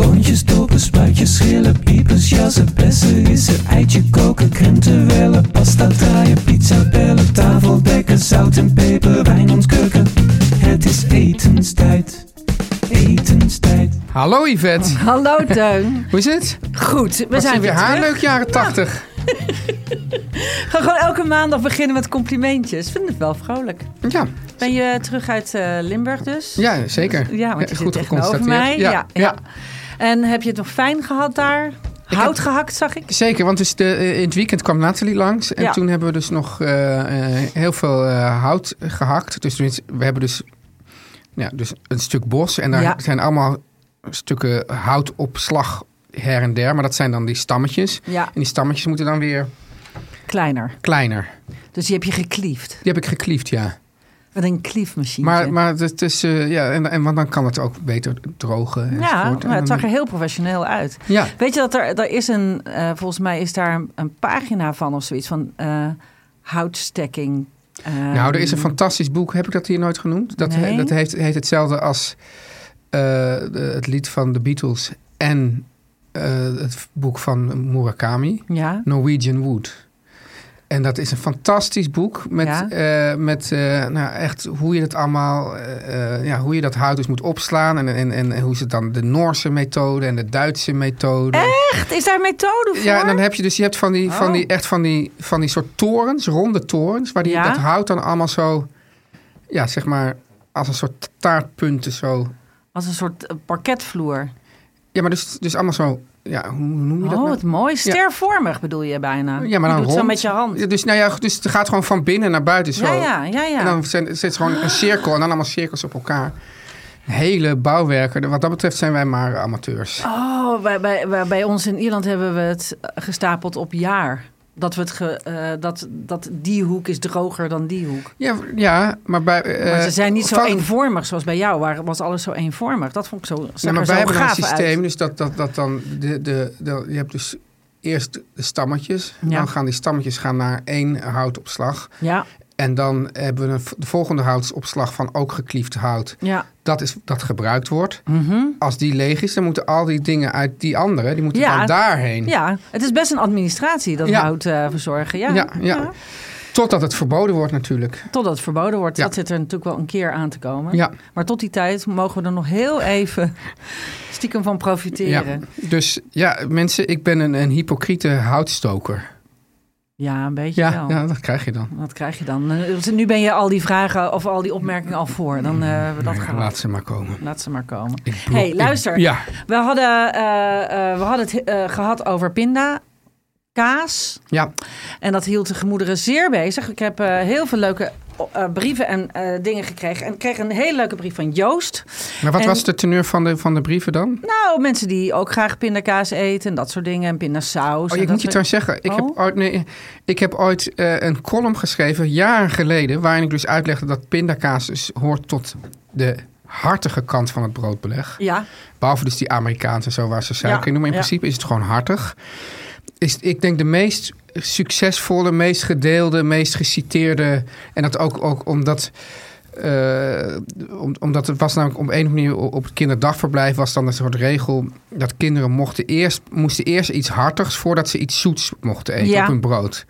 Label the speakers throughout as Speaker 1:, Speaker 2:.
Speaker 1: Boontjes, dopen, spuitjes, schillen, piepers, jassen, bessen, rissen, eitje koken, krenten wellen, pasta draaien, pizza bellen, tafel dekken, zout en peper, wijn ontkurken. Het is etenstijd, etenstijd.
Speaker 2: Hallo Yvette,
Speaker 3: Hallo Teun.
Speaker 2: hoe is het?
Speaker 3: Goed, we
Speaker 2: Wat
Speaker 3: zijn
Speaker 2: zit
Speaker 3: weer
Speaker 2: je haar
Speaker 3: terug.
Speaker 2: leuk jaren 80.
Speaker 3: We gaan gewoon elke maandag beginnen met complimentjes. Ik vind het wel vrolijk.
Speaker 2: Ja, ja,
Speaker 3: Ben je terug uit eh, Limburg dus?
Speaker 2: zeker.
Speaker 3: Ja, want je
Speaker 2: goed
Speaker 3: zit tegenover mij. Ja, ja. En heb je het nog fijn gehad daar? Hout
Speaker 2: heb-
Speaker 3: gehakt zag ik.
Speaker 2: Zeker, want dus de, eh, in het weekend kwam Nathalie langs. En
Speaker 3: Ja.
Speaker 2: toen hebben we dus nog eh, eh, heel veel eh, hout gehakt. Dus we we hebben dus, ja, dus een stuk bos. En daar
Speaker 3: Ja.
Speaker 2: zijn allemaal stukken hout op slag her en der. Maar dat zijn dan die stammetjes.
Speaker 3: Ja,
Speaker 2: En die stammetjes moeten dan weer
Speaker 3: kleiner.
Speaker 2: kleiner.
Speaker 3: Dus die heb je gekliefd.
Speaker 2: Die heb ik gekliefd, ja.
Speaker 3: Met een kliefmachine.
Speaker 2: Maar, maar het is, eh, ja, en, en, want dan kan het ook beter drogen.
Speaker 3: ja,
Speaker 2: enzovoort. En
Speaker 3: maar
Speaker 2: dan-
Speaker 3: het zag er heel professioneel uit.
Speaker 2: Ja,
Speaker 3: Weet je dat er, er is een, eh, volgens mij is daar een, een pagina van of zoiets, van eh, houtstekking.
Speaker 2: nou, er is een
Speaker 3: Ehm,
Speaker 2: fantastisch boek. Heb ik dat hier nooit genoemd? Dat,
Speaker 3: Nee.
Speaker 2: dat heeft, heet hetzelfde als eh, de- het lied van de Beatles en eh, het boek van Murakami,
Speaker 3: Ja,
Speaker 2: Norwegian Wood. En dat is een fantastisch boek met,
Speaker 3: Ja.
Speaker 2: eh, met eh, nou, echt hoe je dat allemaal, eh, eh, ja, hoe je dat hout dus moet opslaan. En, en, en, en hoe ze dan de Noorse methode en de Duitse methode.
Speaker 3: Echt? Is daar een methode voor?
Speaker 2: Ja, en dan heb je dus je hebt van die, van
Speaker 3: Oh.
Speaker 2: die echt van die, van die soort torens, ronde torens, waar die,
Speaker 3: Ja.
Speaker 2: dat hout dan allemaal zo, ja, zeg maar, als een soort taartpunten zo.
Speaker 3: Als een soort eh, parketvloer.
Speaker 2: Ja, maar dus, dus allemaal zo, ja, hoe noem je dat?
Speaker 3: Oh,
Speaker 2: nou?
Speaker 3: wat mooi.
Speaker 2: Ja.
Speaker 3: Stervormig bedoel je bijna.
Speaker 2: Ja, maar dan
Speaker 3: je doet
Speaker 2: rond.
Speaker 3: zo met je hand.
Speaker 2: Ja, dus, nou ja, dus het gaat gewoon van binnen naar buiten zo.
Speaker 3: Ja, ja, ja. ja.
Speaker 2: En dan zijn- zit gewoon een cirkel en dan allemaal cirkels op elkaar. Hele bouwwerken. Wat dat betreft zijn wij maar amateurs.
Speaker 3: Oh, bij, bij, bij, bij ons in Ierland hebben we het eh, gestapeld op jaar. Dat, we het ge- eh, dat, dat die hoek is droger dan die hoek.
Speaker 2: Ja, ja maar bij... eh,
Speaker 3: Maar ze zijn niet zo
Speaker 2: van-
Speaker 3: eenvormig zoals bij jou. Waar was alles zo eenvormig? Dat vond ik zo, zag
Speaker 2: Ja, maar wij
Speaker 3: er zo
Speaker 2: hebben dan een
Speaker 3: gaaf
Speaker 2: systeem,
Speaker 3: uit.
Speaker 2: dus dat, dat, dat dan de, de, de, je hebt dus eerst de stammetjes,
Speaker 3: Ja.
Speaker 2: dan gaan die stammetjes gaan naar één houtopslag.
Speaker 3: Ja,
Speaker 2: En dan hebben we een v- de volgende houtopslag van ook gekliefd hout.
Speaker 3: ja. Mhm.
Speaker 2: Dat is dat gebruikt wordt. Als die leeg is, dan moeten al die dingen uit die andere, die moeten
Speaker 3: Ja.
Speaker 2: dan daarheen.
Speaker 3: ja, het is best een administratie, dat
Speaker 2: Ja.
Speaker 3: hout eh, verzorgen. Ja.
Speaker 2: ja, ja. Totdat het verboden wordt natuurlijk.
Speaker 3: Totdat het verboden wordt.
Speaker 2: Ja.
Speaker 3: Dat zit er natuurlijk wel een keer aan te komen.
Speaker 2: Ja.
Speaker 3: Maar tot die tijd mogen we er nog heel even stiekem van
Speaker 2: Ja.
Speaker 3: profiteren. Ja,
Speaker 2: Dus ja, mensen, ik ben een, een hypocriete houtstoker.
Speaker 3: een beetje
Speaker 2: Ja,
Speaker 3: wel.
Speaker 2: ja, dat krijg je dan.
Speaker 3: Wat krijg je dan? Eh, Nu ben je al die vragen of al die opmerkingen al voor. Dan eh, hebben we dat
Speaker 2: Nou ja,
Speaker 3: gehad.
Speaker 2: laat ze maar komen.
Speaker 3: Laat ze maar komen.
Speaker 2: Ik
Speaker 3: Hey,
Speaker 2: ik-
Speaker 3: luister.
Speaker 2: ja.
Speaker 3: We hadden, eh, eh, we hadden het eh, gehad over pinda. Kaas.
Speaker 2: Ja,
Speaker 3: En dat hield de gemoederen zeer bezig. Ik heb eh, heel veel leuke eh, brieven en eh, dingen gekregen. En ik kreeg een hele leuke brief van Joost.
Speaker 2: maar wat
Speaker 3: En-
Speaker 2: was de teneur van de, van de brieven dan? Oh,
Speaker 3: Nou, mensen die ook graag pindakaas eten en dat soort dingen. En pindasaus.
Speaker 2: Oh,
Speaker 3: en
Speaker 2: ik
Speaker 3: dat
Speaker 2: moet je trouwens
Speaker 3: soort-
Speaker 2: zeggen, ik heb
Speaker 3: Oh.
Speaker 2: ooit, nee, ik heb ooit eh, een column geschreven, jaren geleden, waarin ik dus uitlegde dat pindakaas dus hoort tot de hartige kant van het broodbeleg.
Speaker 3: Ja,
Speaker 2: Behalve dus die Amerikaanse en zo waar ze suiker
Speaker 3: Ja,
Speaker 2: in doen, maar in
Speaker 3: ja.
Speaker 2: principe is het gewoon hartig. Is, ik denk de meest succesvolle, meest gedeelde, meest geciteerde, en dat ook, ook omdat... eh, om- omdat het was namelijk op een of andere manier op het kinderdagverblijf was dan een soort regel dat kinderen mochten eerst, moesten eerst iets hartigs voordat ze iets zoets mochten eten
Speaker 3: Ja.
Speaker 2: op hun brood.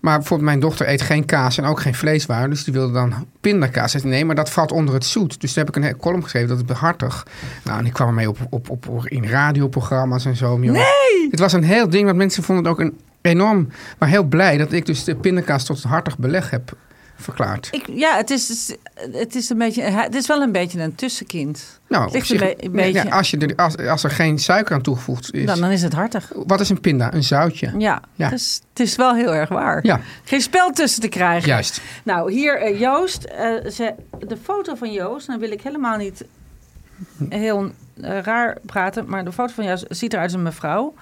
Speaker 2: Maar bijvoorbeeld mijn dochter eet geen kaas en ook geen vleeswaren. Dus die wilde dan pindakaas. Zei, nee, maar dat valt onder het zoet. Dus daar heb ik een column geschreven, dat is behartig. Nou, en ik kwam ermee op, op, op, in radioprogramma's en zo. Nee! Het was een heel ding, want mensen vonden het ook een enorm... Maar heel blij dat ik dus de pindakaas tot een hartig beleg heb verklaard.
Speaker 3: Ik, ja, het is, het, is een beetje, het is wel een beetje een tussenkind.
Speaker 2: nou,
Speaker 3: het
Speaker 2: op
Speaker 3: ligt een
Speaker 2: zich-
Speaker 3: be- een beetje-
Speaker 2: ja, als, je er, als, als er geen suiker aan toegevoegd is...
Speaker 3: Dan, dan is het hartig.
Speaker 2: Wat is een pinda? Een zoutje.
Speaker 3: Ja,
Speaker 2: Ja.
Speaker 3: Dus, het is wel heel erg waar.
Speaker 2: Ja.
Speaker 3: Geen spel tussen te krijgen.
Speaker 2: Juist.
Speaker 3: Nou, hier eh, Joost. eh, ze, de foto van Joost, dan wil ik helemaal niet heel eh, raar praten, maar de foto van Joost ziet eruit als een mevrouw.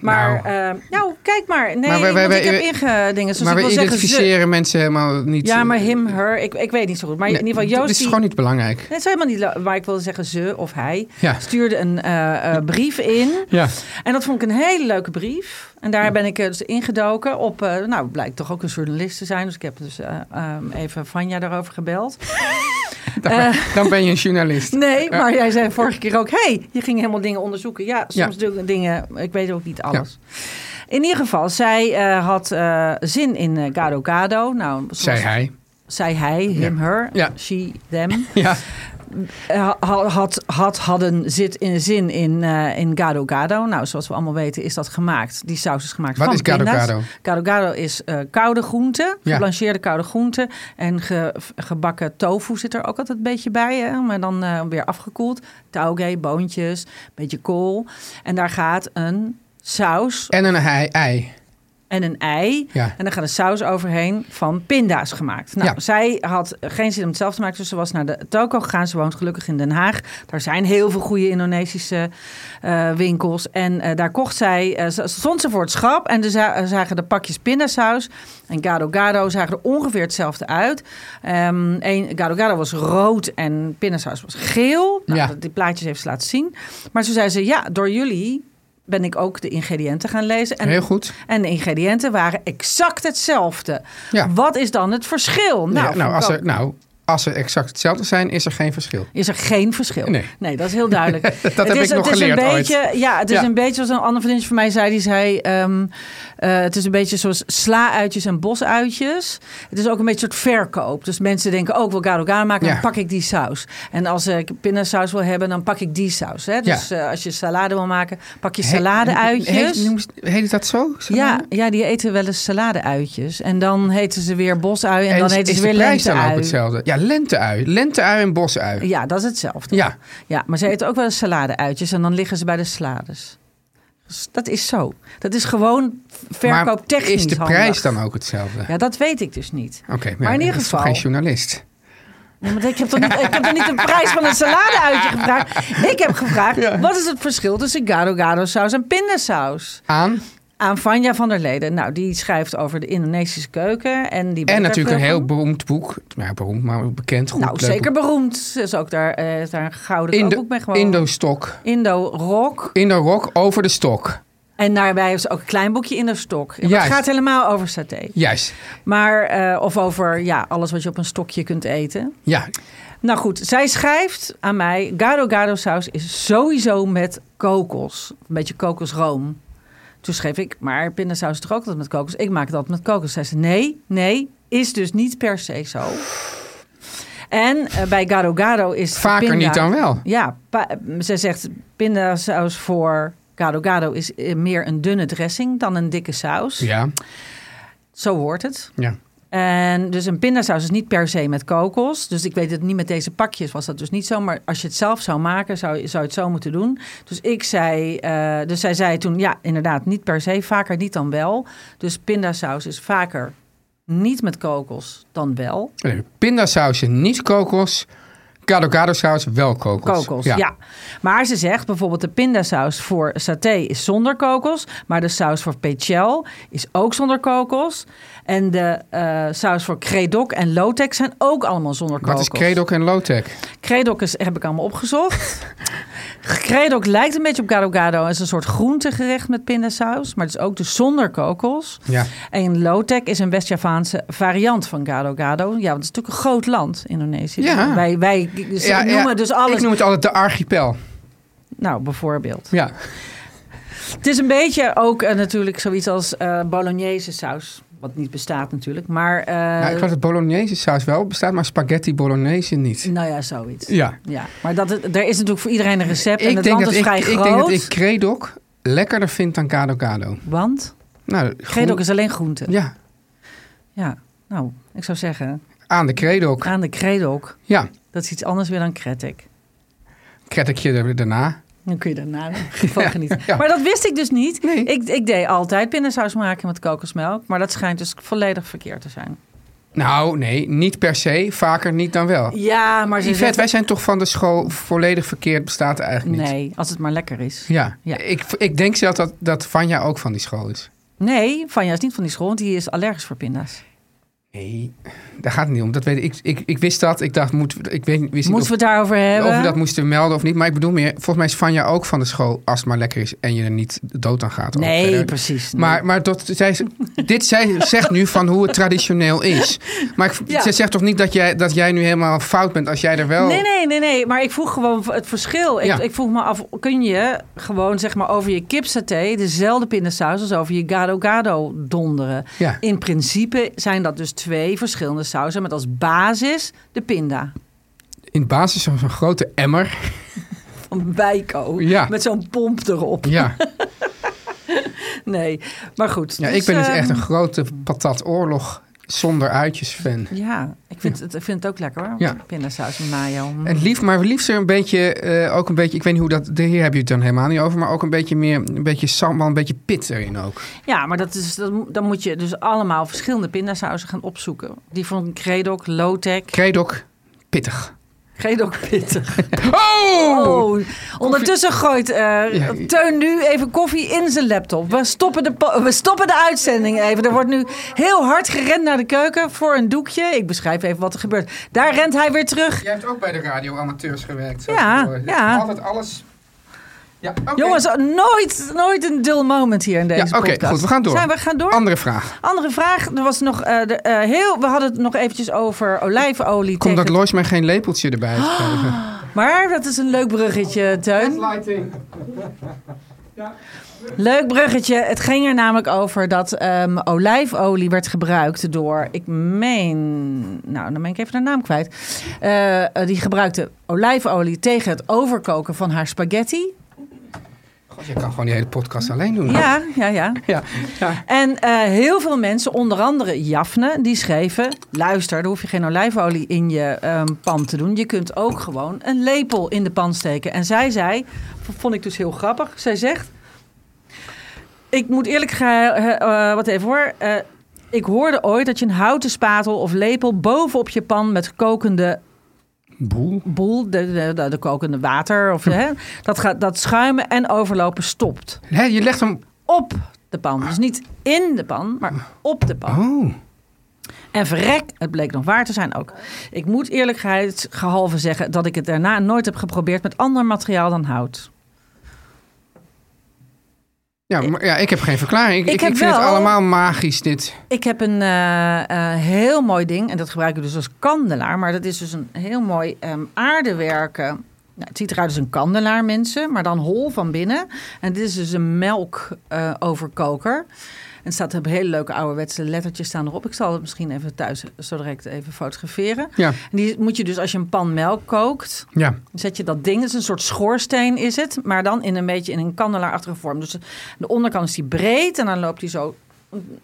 Speaker 3: Maar nou, nou kijk maar. Nee,
Speaker 2: Maar wij-
Speaker 3: ik-
Speaker 2: wij-
Speaker 3: want ik
Speaker 2: wij-
Speaker 3: heb ingedingen. Dus
Speaker 2: maar
Speaker 3: ik
Speaker 2: we
Speaker 3: wil zeggen ze.
Speaker 2: identificeren mensen helemaal niet.
Speaker 3: Ja, maar
Speaker 2: eh,
Speaker 3: him, her, ik, ik weet niet zo goed. Maar
Speaker 2: nee,
Speaker 3: in ieder geval, Joost
Speaker 2: Het is
Speaker 3: die-
Speaker 2: gewoon niet belangrijk.
Speaker 3: Nee, het is helemaal niet, la- maar ik wilde zeggen ze of hij
Speaker 2: Ja.
Speaker 3: stuurde een eh, eh, brief in.
Speaker 2: Ja.
Speaker 3: En dat vond ik een hele leuke brief. En daar ben ik eh, dus ingedoken op, eh, nou blijkt toch ook een journalist te zijn. Dus ik heb dus eh, ehm, even Vanja daarover gebeld.
Speaker 2: Dan, dan ben je een journalist.
Speaker 3: Eh.
Speaker 2: Eh,
Speaker 3: Nee, maar jij zei vorige keer ook, hey, je ging helemaal dingen onderzoeken. Ja, soms
Speaker 2: Ja.
Speaker 3: doe ik dingen, ik weet ook niet alles. In ieder geval, zij eh, had eh, zin in eh, Gado Gado. Nou, soms
Speaker 2: Zei hij.
Speaker 3: zei hij, him, her,
Speaker 2: Ja.
Speaker 3: she, them.
Speaker 2: Ja.
Speaker 3: Eh, ha- had, had, hadden zit in, zin in, eh, in gado gado. Nou, zoals we allemaal weten is dat gemaakt. Die saus is gemaakt
Speaker 2: Wat
Speaker 3: van
Speaker 2: is gado
Speaker 3: pinda's.
Speaker 2: gado?
Speaker 3: Gado gado is eh, koude groenten,
Speaker 2: Ja.
Speaker 3: geblancheerde koude groenten. En ge- gebakken tofu zit er ook altijd een beetje bij. Hè? Maar dan eh, weer afgekoeld. Tauge, boontjes, een beetje kool. En daar gaat een saus
Speaker 2: En een ei.
Speaker 3: Nou,
Speaker 2: ei.
Speaker 3: en een ei.
Speaker 2: Ja.
Speaker 3: En dan gaat een saus overheen van pinda's gemaakt. Nou,
Speaker 2: Ja.
Speaker 3: zij had geen zin om het zelf te maken. Dus ze was naar de toko gegaan. Ze woont gelukkig in Den Haag. Daar zijn heel veel goede Indonesische eh, winkels. En eh, daar kocht zij... eh, ze- stond ze voor het schap. En er za- eh, zagen de pakjes pindasaus en gado gado zagen er ongeveer hetzelfde uit. Ehm een, gado gado was rood en pindasaus was geel. Nou,
Speaker 2: Ja.
Speaker 3: dat- Die plaatjes heeft ze laten zien. Maar zo zei ze... Ja, door jullie ben ik ook de ingrediënten gaan lezen. En
Speaker 2: Heel goed.
Speaker 3: en de ingrediënten waren exact hetzelfde.
Speaker 2: Ja.
Speaker 3: Wat is dan het verschil?
Speaker 2: Nou,
Speaker 3: vond
Speaker 2: nou,
Speaker 3: ik
Speaker 2: als
Speaker 3: ook-
Speaker 2: er, nou, als ze exact hetzelfde zijn, is er geen verschil.
Speaker 3: is er geen verschil.
Speaker 2: Nee.
Speaker 3: dat is heel duidelijk. het
Speaker 2: heb
Speaker 3: is,
Speaker 2: ik nog
Speaker 3: het is
Speaker 2: geleerd
Speaker 3: een
Speaker 2: ooit.
Speaker 3: beetje, Ja, het is
Speaker 2: Ja.
Speaker 3: een beetje zoals een andere vriendin van mij zei. Die zei, ehm, eh, het is een beetje zoals sla-uitjes en bosuitjes. Het is ook een beetje een soort verkoop. Dus mensen denken ook, wil gado gado maken,
Speaker 2: Ja.
Speaker 3: dan pak ik die saus. En als ik pindasaus wil hebben, dan pak ik die saus. Hè? Dus eh, als je salade wil maken, pak je salade-uitjes.
Speaker 2: Heet, noem- heet dat zo?
Speaker 3: Ja,
Speaker 2: Salade?
Speaker 3: ja, die eten wel eens salade-uitjes. En dan heten ze weer bosuien en, dan
Speaker 2: is
Speaker 3: heten
Speaker 2: is
Speaker 3: ze
Speaker 2: de
Speaker 3: weer
Speaker 2: prijs dan ook
Speaker 3: lente-ui.
Speaker 2: hetzelfde? Ja, lente-ui. Lente-ui en bos-ui.
Speaker 3: Ja, dat is hetzelfde.
Speaker 2: Ja.
Speaker 3: Ja, maar ze eten ook wel eens salade-uitjes en dan liggen ze bij de salades. Dus dat is zo. Dat is gewoon
Speaker 2: Maar
Speaker 3: verkooptechnisch
Speaker 2: is de
Speaker 3: handig.
Speaker 2: prijs dan ook hetzelfde?
Speaker 3: Ja, dat weet ik dus niet.
Speaker 2: Oké, maar,
Speaker 3: Maar in ieder
Speaker 2: dat is toch
Speaker 3: geval-
Speaker 2: geen journalist.
Speaker 3: Nee, want ik heb toch niet, ik heb toch niet de prijs van een salade-uitje gevraagd? Ik heb gevraagd, wat is het verschil tussen gado-gado-saus en pindasaus?
Speaker 2: Aan.
Speaker 3: Aan Vanja van der Leden. Nou, die schrijft over de Indonesische keuken. En, die weet
Speaker 2: En
Speaker 3: daar
Speaker 2: natuurlijk een
Speaker 3: veel
Speaker 2: heel
Speaker 3: van.
Speaker 2: beroemd boek. Nou, beroemd, maar bekend. Goed,
Speaker 3: Nou,
Speaker 2: leuk
Speaker 3: zeker
Speaker 2: boek.
Speaker 3: beroemd. Ze is ook daar, eh, is daar een gouden
Speaker 2: Indo,
Speaker 3: kookboek mee gewoon.
Speaker 2: Indo-stok.
Speaker 3: Indo-rock.
Speaker 2: Indo-rock over de stok.
Speaker 3: En daarbij heeft ze ook een klein boekje Indo-stok. En Het
Speaker 2: Juist.
Speaker 3: gaat helemaal over saté.
Speaker 2: Juist.
Speaker 3: Maar, eh, of over ja, alles wat je op een stokje kunt eten.
Speaker 2: Ja,
Speaker 3: Nou goed, zij schrijft aan mij... Gado Gado saus is sowieso met kokos. Een beetje kokosroom. Toen schreef ik, maar pindasaus is toch ook altijd met kokos? Ik maak dat met kokos. Zij zei, nee, nee, is dus niet per se zo. En eh, bij Gado Gado is de
Speaker 2: vaker
Speaker 3: pinda-
Speaker 2: niet dan wel.
Speaker 3: Ja, pa- ze zegt pindasaus voor gado gado is eh, meer een dunne dressing dan een dikke saus.
Speaker 2: Ja,
Speaker 3: Zo hoort het.
Speaker 2: ja.
Speaker 3: En dus een pindasaus is niet per se met kokos. Dus ik weet het niet met deze pakjes was dat dus niet zo. Maar als je het zelf zou maken, zou, je- zou je het zo moeten doen. Dus ik zei, eh, dus zij zei toen, ja, inderdaad, niet per se, vaker niet dan wel. Dus pindasaus is vaker niet met kokos dan wel.
Speaker 2: Nee, Pindasausen niet kokos. Gado gado saus wel kokos.
Speaker 3: kokos. Ja. Maar ze zegt bijvoorbeeld de pindasaus voor saté is zonder kokos. Maar de saus voor pechel is ook zonder kokos. En de eh, saus voor kredok en lotex zijn ook allemaal zonder kokos.
Speaker 2: Wat is Kredok en Lotek?
Speaker 3: Kredok is, heb ik allemaal opgezocht. Kredok lijkt een beetje op gado gado. Het is een soort groentegerecht met pindasaus. Maar het is ook dus zonder kokos.
Speaker 2: Ja.
Speaker 3: En Lotek is een West-Javaanse variant van gado gado. Ja, want het is natuurlijk een groot land, Indonesië.
Speaker 2: Ja.
Speaker 3: Wij, wij ze
Speaker 2: Ja,
Speaker 3: noemen
Speaker 2: ja,
Speaker 3: dus alles.
Speaker 2: Ik noem het altijd de archipel.
Speaker 3: Nou, bijvoorbeeld.
Speaker 2: Ja.
Speaker 3: Het is een beetje ook eh, natuurlijk zoiets als eh, bolognese saus. Wat niet bestaat natuurlijk. Maar, eh,
Speaker 2: Ja, Nou, ik had het bolognese saus wel bestaat, maar spaghetti bolognese niet.
Speaker 3: nou ja, zoiets.
Speaker 2: Ja.
Speaker 3: Ja, maar dat, het- er is natuurlijk voor iedereen een recept. en
Speaker 2: Ik
Speaker 3: het
Speaker 2: denk,
Speaker 3: land
Speaker 2: dat
Speaker 3: is
Speaker 2: ik,
Speaker 3: vrij
Speaker 2: ik
Speaker 3: groot.
Speaker 2: denk dat ik Credoc lekkerder vind dan Kado Kado.
Speaker 3: Want?
Speaker 2: Nou,
Speaker 3: Credoc
Speaker 2: groen-
Speaker 3: is alleen groente. Ja.
Speaker 2: Ja,
Speaker 3: nou, ik zou zeggen,
Speaker 2: aan de Credoc.
Speaker 3: aan de Credoc.
Speaker 2: Ja,
Speaker 3: Dat is iets anders weer dan Kretek.
Speaker 2: Kretekje er- daarna.
Speaker 3: Dan kun je daarna van
Speaker 2: Ja,
Speaker 3: genieten.
Speaker 2: ja.
Speaker 3: Maar dat wist ik dus niet.
Speaker 2: Nee.
Speaker 3: Ik, ik deed altijd pindasaus maken met kokosmelk. Maar dat schijnt dus volledig verkeerd te zijn.
Speaker 2: Nou, nee, niet per se. Vaker niet dan wel.
Speaker 3: Ja, maar ze
Speaker 2: Yvette, wij zijn toch van de school volledig verkeerd bestaat eigenlijk niet.
Speaker 3: Nee, als het maar lekker is.
Speaker 2: Ja,
Speaker 3: Ja.
Speaker 2: Ik, ik denk zelf dat, dat Vanja ook van die school is.
Speaker 3: Nee, Vanja is niet van die school, want die is allergisch voor pinda's.
Speaker 2: Nee, daar gaat het niet om. Dat weet ik, ik, ik wist dat. Ik dacht, moet, ik weet, wist niet
Speaker 3: Moeten
Speaker 2: of,
Speaker 3: we het daarover hebben?
Speaker 2: of we dat moesten melden of niet. Maar ik bedoel meer, volgens mij is Vanja ook van de school... als het maar lekker is en je er niet dood aan gaat. of
Speaker 3: nee,
Speaker 2: verder.
Speaker 3: precies. nee.
Speaker 2: Maar, maar dat, zij, dit zij zegt nu van hoe het traditioneel is. Maar ik,
Speaker 3: Ja.
Speaker 2: ze zegt toch niet dat jij, dat jij nu helemaal fout bent als jij er wel...
Speaker 3: Nee, nee, nee, nee. Maar ik vroeg gewoon het verschil.
Speaker 2: Oh. Ja.
Speaker 3: Ik, ik vroeg me af, kun je gewoon zeg maar over je kipsaté dezelfde pindasaus als over je gado gado donderen?
Speaker 2: Ja.
Speaker 3: In principe zijn dat dus twee verschillende sausen met als basis de pinda
Speaker 2: In de basis van zo'n grote emmer.
Speaker 3: van Bijko.
Speaker 2: Ja.
Speaker 3: Met zo'n pomp erop.
Speaker 2: Ja,
Speaker 3: Nee, maar goed.
Speaker 2: ja ik ben dus
Speaker 3: ehm,
Speaker 2: echt een grote patatoorlog zonder uitjes fan.
Speaker 3: Ja, ik vind, het, ik vind het ook lekker hoor.
Speaker 2: Ja.
Speaker 3: Pindasaus met mayo. Mm.
Speaker 2: En lief, maar liefst er een beetje, eh, ook een beetje, ik weet niet hoe dat, hier heb je het dan helemaal niet over, maar ook een beetje meer, een beetje sambal, een beetje pit erin ook.
Speaker 3: Ja, maar dat is, dat, mo- dan moet je dus allemaal verschillende pindasausen gaan opzoeken. Die van Credoc, Lotek.
Speaker 2: Kredok, pittig.
Speaker 3: Credoc pittig.
Speaker 2: Oh!
Speaker 3: Oh, ondertussen gooit eh,
Speaker 2: Ja.
Speaker 3: Teun nu even koffie in zijn laptop. We stoppen, de po- we stoppen de uitzending even. Er wordt nu heel hard gerend naar de keuken voor een doekje. Ik beschrijf even wat er gebeurt. Daar rent hij weer terug.
Speaker 2: Jij hebt ook bij de radio amateurs gewerkt. zo
Speaker 3: Ja,
Speaker 2: te horen.
Speaker 3: ja.
Speaker 2: Altijd alles. Ja, oké.
Speaker 3: Jongens, nooit, nooit een dull moment hier in deze
Speaker 2: Ja, oké,
Speaker 3: podcast.
Speaker 2: goed, we gaan door.
Speaker 3: Zijn we gaan door?
Speaker 2: Andere vraag.
Speaker 3: Andere vraag. Er was nog, eh, de, eh, heel, we hadden het nog eventjes over olijfolie.
Speaker 2: Komt dat
Speaker 3: tegen-
Speaker 2: Lois mij geen lepeltje erbij heeft
Speaker 3: Ah,
Speaker 2: gegeven?
Speaker 3: Maar dat is een leuk bruggetje, Teun.
Speaker 2: Gaslighting.
Speaker 3: Leuk bruggetje. Het ging er namelijk over dat ehm, olijfolie werd gebruikt door, ik meen, nou dan ben ik even de naam kwijt. Eh, eh, die gebruikte olijfolie tegen het overkoken van haar spaghetti.
Speaker 2: God, je kan gewoon die hele podcast alleen doen.
Speaker 3: Ja, ja, ja.
Speaker 2: Ja, ja.
Speaker 3: En eh, heel veel mensen, onder andere Jafne, die schreven: luister, daar hoef je geen olijfolie in je ehm, pan te doen. Je kunt ook gewoon een lepel in de pan steken. En zij zei, v- vond ik dus heel grappig. Zij zegt: ik moet eerlijk gaan, wat even hoor. Eh, ik hoorde ooit dat je een houten spatel of lepel bovenop je pan met kokende
Speaker 2: Boel.
Speaker 3: boel, de, de, de, de kokende water, of, hè, dat, gaat, dat schuimen en overlopen stopt
Speaker 2: Hè, je legt hem...
Speaker 3: op de pan. Dus niet in de pan, maar op de pan.
Speaker 2: Oh.
Speaker 3: En verrek, het bleek nog waar te zijn ook. Ik moet eerlijkheidsgehalve zeggen dat ik het daarna nooit heb geprobeerd met ander materiaal dan hout.
Speaker 2: Ja, maar, ja, ik heb geen verklaring. Ik,
Speaker 3: Ik
Speaker 2: ik,
Speaker 3: heb
Speaker 2: ik vind het
Speaker 3: wel-
Speaker 2: allemaal magisch, dit.
Speaker 3: Ik heb een eh, eh, heel mooi ding, en dat gebruik ik dus als kandelaar. Maar dat is dus een heel mooi ehm, aardewerken. Nou, het ziet eruit als een kandelaar, mensen, maar dan hol van binnen. En dit is dus een melkoverkoker. en er staat hebben hele leuke ouderwetse lettertjes staan erop. Ik zal het misschien even thuis zo direct even fotograferen.
Speaker 2: Ja.
Speaker 3: En die moet je dus als je een pan melk kookt,
Speaker 2: Ja.
Speaker 3: zet je dat ding. Het is een soort schoorsteen is het, maar dan in een beetje in een kandelaarachtige vorm. Dus de onderkant is die breed en dan loopt die zo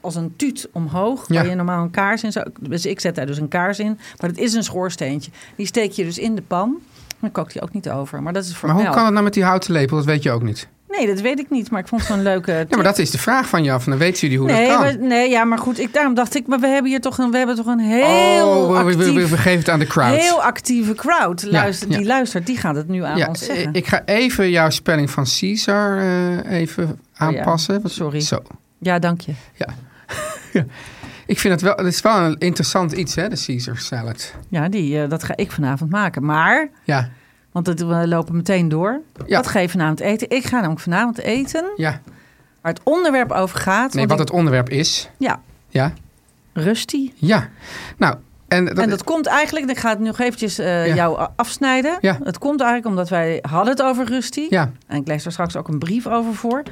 Speaker 3: als een tuut omhoog. Waar
Speaker 2: Ja.
Speaker 3: je normaal een kaars in zou... Dus ik zet daar dus een kaars in, maar het is een schoorsteentje. Die steek je dus in de pan. Dan kookt die ook niet over. Maar dat is voor
Speaker 2: Maar hoe
Speaker 3: melk.
Speaker 2: kan het nou met die houten lepel? Dat weet je ook niet.
Speaker 3: Nee, dat weet ik niet, maar ik vond het zo'n leuke...
Speaker 2: Ja, maar dat is de vraag van jou. Van, dan weten jullie hoe
Speaker 3: Nee,
Speaker 2: dat kan.
Speaker 3: maar, nee, ja, maar goed. Ik, daarom dacht ik, maar we hebben hier toch een, we hebben toch een heel
Speaker 2: oh, we,
Speaker 3: actief,
Speaker 2: we, we- we geven het aan de crowd.
Speaker 3: heel actieve crowd. Luister,
Speaker 2: ja.
Speaker 3: Die luistert, die gaat het nu aan
Speaker 2: ja,
Speaker 3: ons zeggen.
Speaker 2: eh, ik ga even jouw spelling van Caesar eh, even aanpassen. Want-
Speaker 3: Oh sorry.
Speaker 2: Zo.
Speaker 3: ja, dank je.
Speaker 2: Ik vind het wel, het is wel een interessant iets, hè, de Caesar salad.
Speaker 3: Ja, die, eh, dat ga ik vanavond maken. Maar,
Speaker 2: Ja,
Speaker 3: want het, we lopen meteen door.
Speaker 2: Ja.
Speaker 3: Wat ga je vanavond eten? Ik ga namelijk vanavond eten
Speaker 2: ja.
Speaker 3: waar het onderwerp over gaat.
Speaker 2: Nee,
Speaker 3: want
Speaker 2: wat het
Speaker 3: ik-
Speaker 2: onderwerp is.
Speaker 3: Ja,
Speaker 2: Ja,
Speaker 3: rusty.
Speaker 2: ja. Nou, en dat,
Speaker 3: en dat komt eigenlijk, ik ga het nu nog eventjes eh,
Speaker 2: Ja.
Speaker 3: jou a- afsnijden.
Speaker 2: Ja.
Speaker 3: Het komt eigenlijk omdat wij hadden het over rusty.
Speaker 2: Ja.
Speaker 3: En ik lees er straks ook een brief over voor.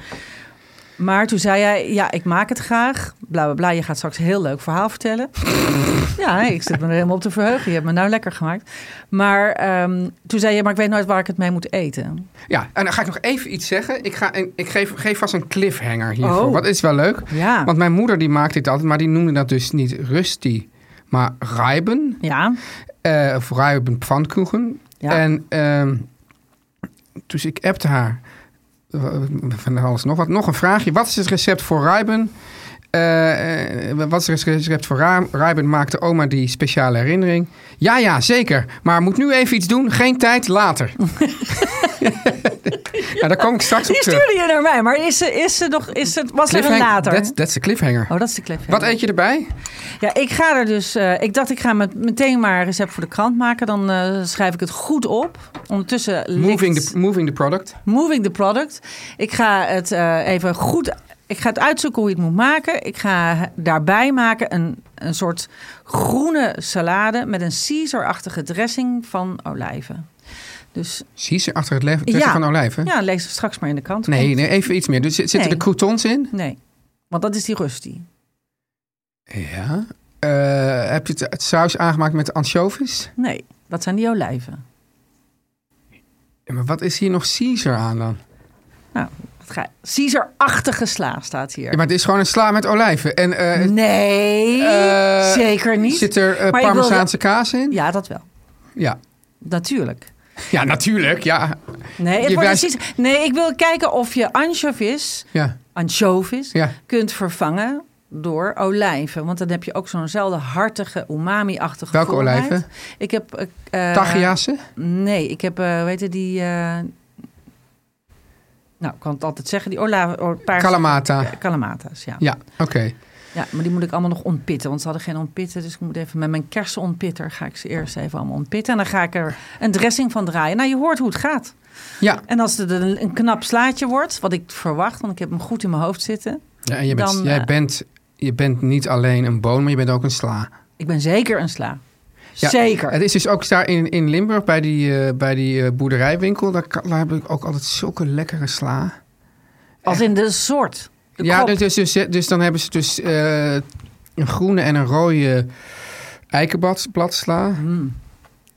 Speaker 3: Maar toen zei hij, ja, ik maak het graag. Bla, bla, bla. Je gaat straks een heel leuk verhaal vertellen. ja, nee, ik zit me er helemaal op te verheugen. Je hebt me nou lekker gemaakt. Maar ehm, toen zei je, maar ik weet nooit waar ik het mee moet eten.
Speaker 2: Ja, en dan ga ik nog even iets zeggen. Ik, ga, en ik geef, geef vast een cliffhanger hiervoor.
Speaker 3: Oh.
Speaker 2: Wat is wel leuk.
Speaker 3: Ja.
Speaker 2: Want mijn moeder die maakte dit altijd, maar die noemde dat dus niet rusty, maar rijben.
Speaker 3: Ja,
Speaker 2: eh of Ruibenpfannkuchen.
Speaker 3: Ja.
Speaker 2: En ehm dus ik appte haar eh, van alles nog wat. Nog een vraagje. Wat is het recept voor Ruiben? Eh, eh, wat is het recept voor Ra- Ruiben? Maakte oma die speciale herinnering? Ja, ja, zeker. Maar moet nu even iets doen. Geen tijd, later. nou, daar kom ik straks op
Speaker 3: die
Speaker 2: terug.
Speaker 3: stuurde je naar mij. Maar is ze, is ze nog, is het, was er een
Speaker 2: Cliffhanger.
Speaker 3: later?
Speaker 2: That's- That's the cliffhanger.
Speaker 3: Oh, dat is de cliffhanger.
Speaker 2: Wat eet je erbij?
Speaker 3: Ja, ik ga er dus. eh, ik dacht, ik ga met, meteen maar een recept voor de krant maken. Dan eh, schrijf ik het goed op. Ondertussen
Speaker 2: Moving
Speaker 3: ligt-
Speaker 2: the, moving the product.
Speaker 3: moving the product. Ik ga het eh, even goed. Ik ga het uitzoeken hoe je het moet maken. Ik ga daarbij maken een, een soort groene salade met een Caesar-achtige dressing van olijven. Dus
Speaker 2: Zie ze achter het leven tussen van olijven?
Speaker 3: Ja, lees het straks maar in de krant.
Speaker 2: Nee, nee, even iets meer. Dus zit- zitten
Speaker 3: Nee.
Speaker 2: er croutons in?
Speaker 3: Nee, want dat is die rustie.
Speaker 2: Ja. Eh, heb je het, het saus aangemaakt met anchovies?
Speaker 3: Nee, dat zijn die olijven.
Speaker 2: Ja, maar wat is hier nog Caesar aan dan?
Speaker 3: Nou, dat ga- Caesar-achtige sla staat hier.
Speaker 2: Ja, maar het is gewoon een sla met olijven. En eh,
Speaker 3: Nee,
Speaker 2: Eh,
Speaker 3: zeker niet.
Speaker 2: zit er eh,
Speaker 3: Maar ik wil wel-
Speaker 2: parmezaanse kaas in?
Speaker 3: Ja, dat wel.
Speaker 2: Ja.
Speaker 3: Natuurlijk.
Speaker 2: Ja, natuurlijk. Ja.
Speaker 3: Nee, het
Speaker 2: Je
Speaker 3: wordt
Speaker 2: wijst-
Speaker 3: een Caesar- nee, ik wil kijken of je anchovies,
Speaker 2: ja.
Speaker 3: anchovies
Speaker 2: Ja.
Speaker 3: kunt vervangen door olijven. Want dan heb je ook zo'nzelfde hartige, umami-achtige
Speaker 2: Welke
Speaker 3: volheid.
Speaker 2: olijven?
Speaker 3: Ik heb... eh, eh,
Speaker 2: Tagliasse?
Speaker 3: Nee, ik heb, eh weet je, die... eh, nou, ik kan het altijd zeggen. Die olijven... oh, paarse-
Speaker 2: Kalamata.
Speaker 3: Eh, Kalamata's, ja. ja.
Speaker 2: Ja, oké.
Speaker 3: maar die moet ik allemaal nog ontpitten. Want ze hadden geen ontpitten. Dus ik moet even met mijn kersenontpitter ga ik ze eerst even allemaal ontpitten. En dan ga ik er een dressing van draaien. Nou, je hoort hoe het gaat.
Speaker 2: Ja.
Speaker 3: En als het een, een knap slaatje wordt, wat ik verwacht, want ik heb hem goed in mijn hoofd zitten.
Speaker 2: ja en je bent,
Speaker 3: Dan,
Speaker 2: jij
Speaker 3: eh,
Speaker 2: bent, je bent niet alleen een boon, maar je bent ook een sla.
Speaker 3: Ik ben zeker een sla.
Speaker 2: Ja,
Speaker 3: zeker.
Speaker 2: Het is dus ook daar in, in Limburg bij die, eh, bij die eh, boerderijwinkel. Daar, kan- daar heb ik ook altijd zulke lekkere sla.
Speaker 3: Als in de soort. De
Speaker 2: ja,
Speaker 3: krop.
Speaker 2: dus, dus, dus, dus dan hebben ze dus eh, een groene en een rode eikenbladsla.
Speaker 3: Hmm.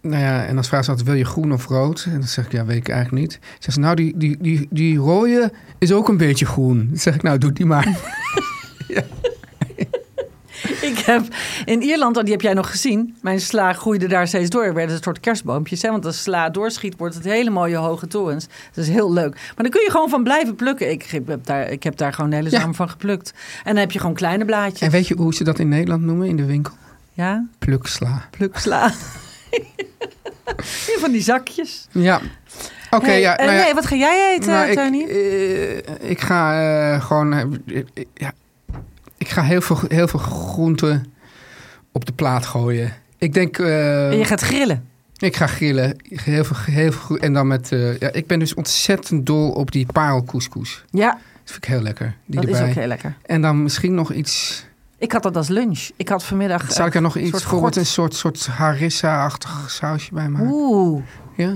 Speaker 2: Nou ja, en dan vragen ze altijd, wil je groen of rood? En dan zeg ik, ja, weet ik eigenlijk niet. Zeggen ze, nou, die, die, die, die rode is ook een beetje groen. Dan zeg ik, nou, doe die maar.
Speaker 3: Ik heb in Ierland, oh, die heb jij nog gezien. Mijn sla groeide daar steeds door. Er werden een soort kerstboompjes. Hè? Want als sla doorschiet, wordt het hele mooie hoge torens. Dat is heel leuk. Maar dan kun je gewoon van blijven plukken. Ik heb daar, ik heb daar gewoon een hele
Speaker 2: Ja.
Speaker 3: zomer van geplukt. En dan heb je gewoon kleine blaadjes.
Speaker 2: En weet je hoe ze dat in Nederland noemen in de winkel?
Speaker 3: Ja,
Speaker 2: Pluksla.
Speaker 3: pluksla. In van die zakjes.
Speaker 2: Ja. Oké,
Speaker 3: Hey,
Speaker 2: ja.
Speaker 3: eh,
Speaker 2: nou ja,
Speaker 3: Nee, wat ga jij eten,
Speaker 2: nou,
Speaker 3: Tony?
Speaker 2: ik, eh, ik ga eh, gewoon... eh, eh, ja, ik ga heel veel, heel veel groenten op de plaat gooien. Ik denk... eh,
Speaker 3: En je gaat grillen.
Speaker 2: Ik ga grillen. Heel veel, heel veel groe- En dan met. eh, ja, ik ben dus ontzettend dol op die parelcouscous.
Speaker 3: Ja,
Speaker 2: Dat vind ik heel lekker. Die
Speaker 3: dat is
Speaker 2: erbij.
Speaker 3: ook heel lekker.
Speaker 2: En dan misschien nog iets.
Speaker 3: Ik had dat als lunch. Ik had vanmiddag... eh,
Speaker 2: Zou ik er nog
Speaker 3: een
Speaker 2: iets
Speaker 3: soort
Speaker 2: voor? wat
Speaker 3: gort.
Speaker 2: Een soort, soort harissa-achtig sausje bij maken.
Speaker 3: Oeh.
Speaker 2: Ja?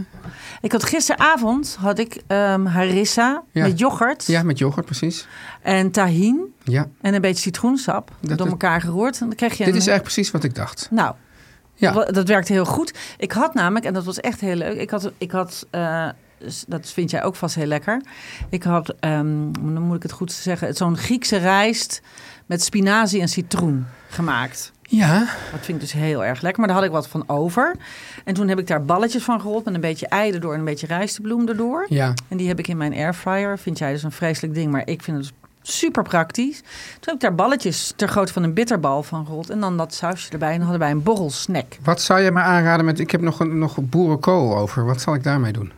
Speaker 3: Ik had gisteravond had ik ehm, harissa
Speaker 2: Ja.
Speaker 3: met yoghurt
Speaker 2: ja, met yoghurt, precies.
Speaker 3: en tahin
Speaker 2: Ja.
Speaker 3: en een beetje citroensap
Speaker 2: Dat-
Speaker 3: door
Speaker 2: dat-
Speaker 3: elkaar geroerd. En dan kreeg je
Speaker 2: Dit
Speaker 3: een,
Speaker 2: is eigenlijk precies wat ik dacht.
Speaker 3: Nou,
Speaker 2: Ja.
Speaker 3: wa- dat werkte heel goed. Ik had namelijk, en dat was echt heel leuk, ik had, ik had eh, s- dat vind jij ook vast heel lekker. Ik had, ehm, dan moet ik het goed zeggen, zo'n Griekse rijst met spinazie en citroen gemaakt.
Speaker 2: Ja.
Speaker 3: Dat vind ik dus heel erg lekker. Maar daar had ik wat van over. En toen heb ik daar balletjes van gerold met een beetje ei erdoor en een beetje rijstbloem erdoor.
Speaker 2: Ja.
Speaker 3: En die heb ik in mijn airfryer. Vind jij dus een vreselijk ding, maar ik vind het super praktisch. Toen heb ik daar balletjes ter grootte van een bitterbal van gerold. En dan dat sausje erbij. En dan hadden wij een borrelsnack.
Speaker 2: Wat zou jij me aanraden met. Ik heb nog, een- nog boerenkool over. Wat zal ik daarmee doen?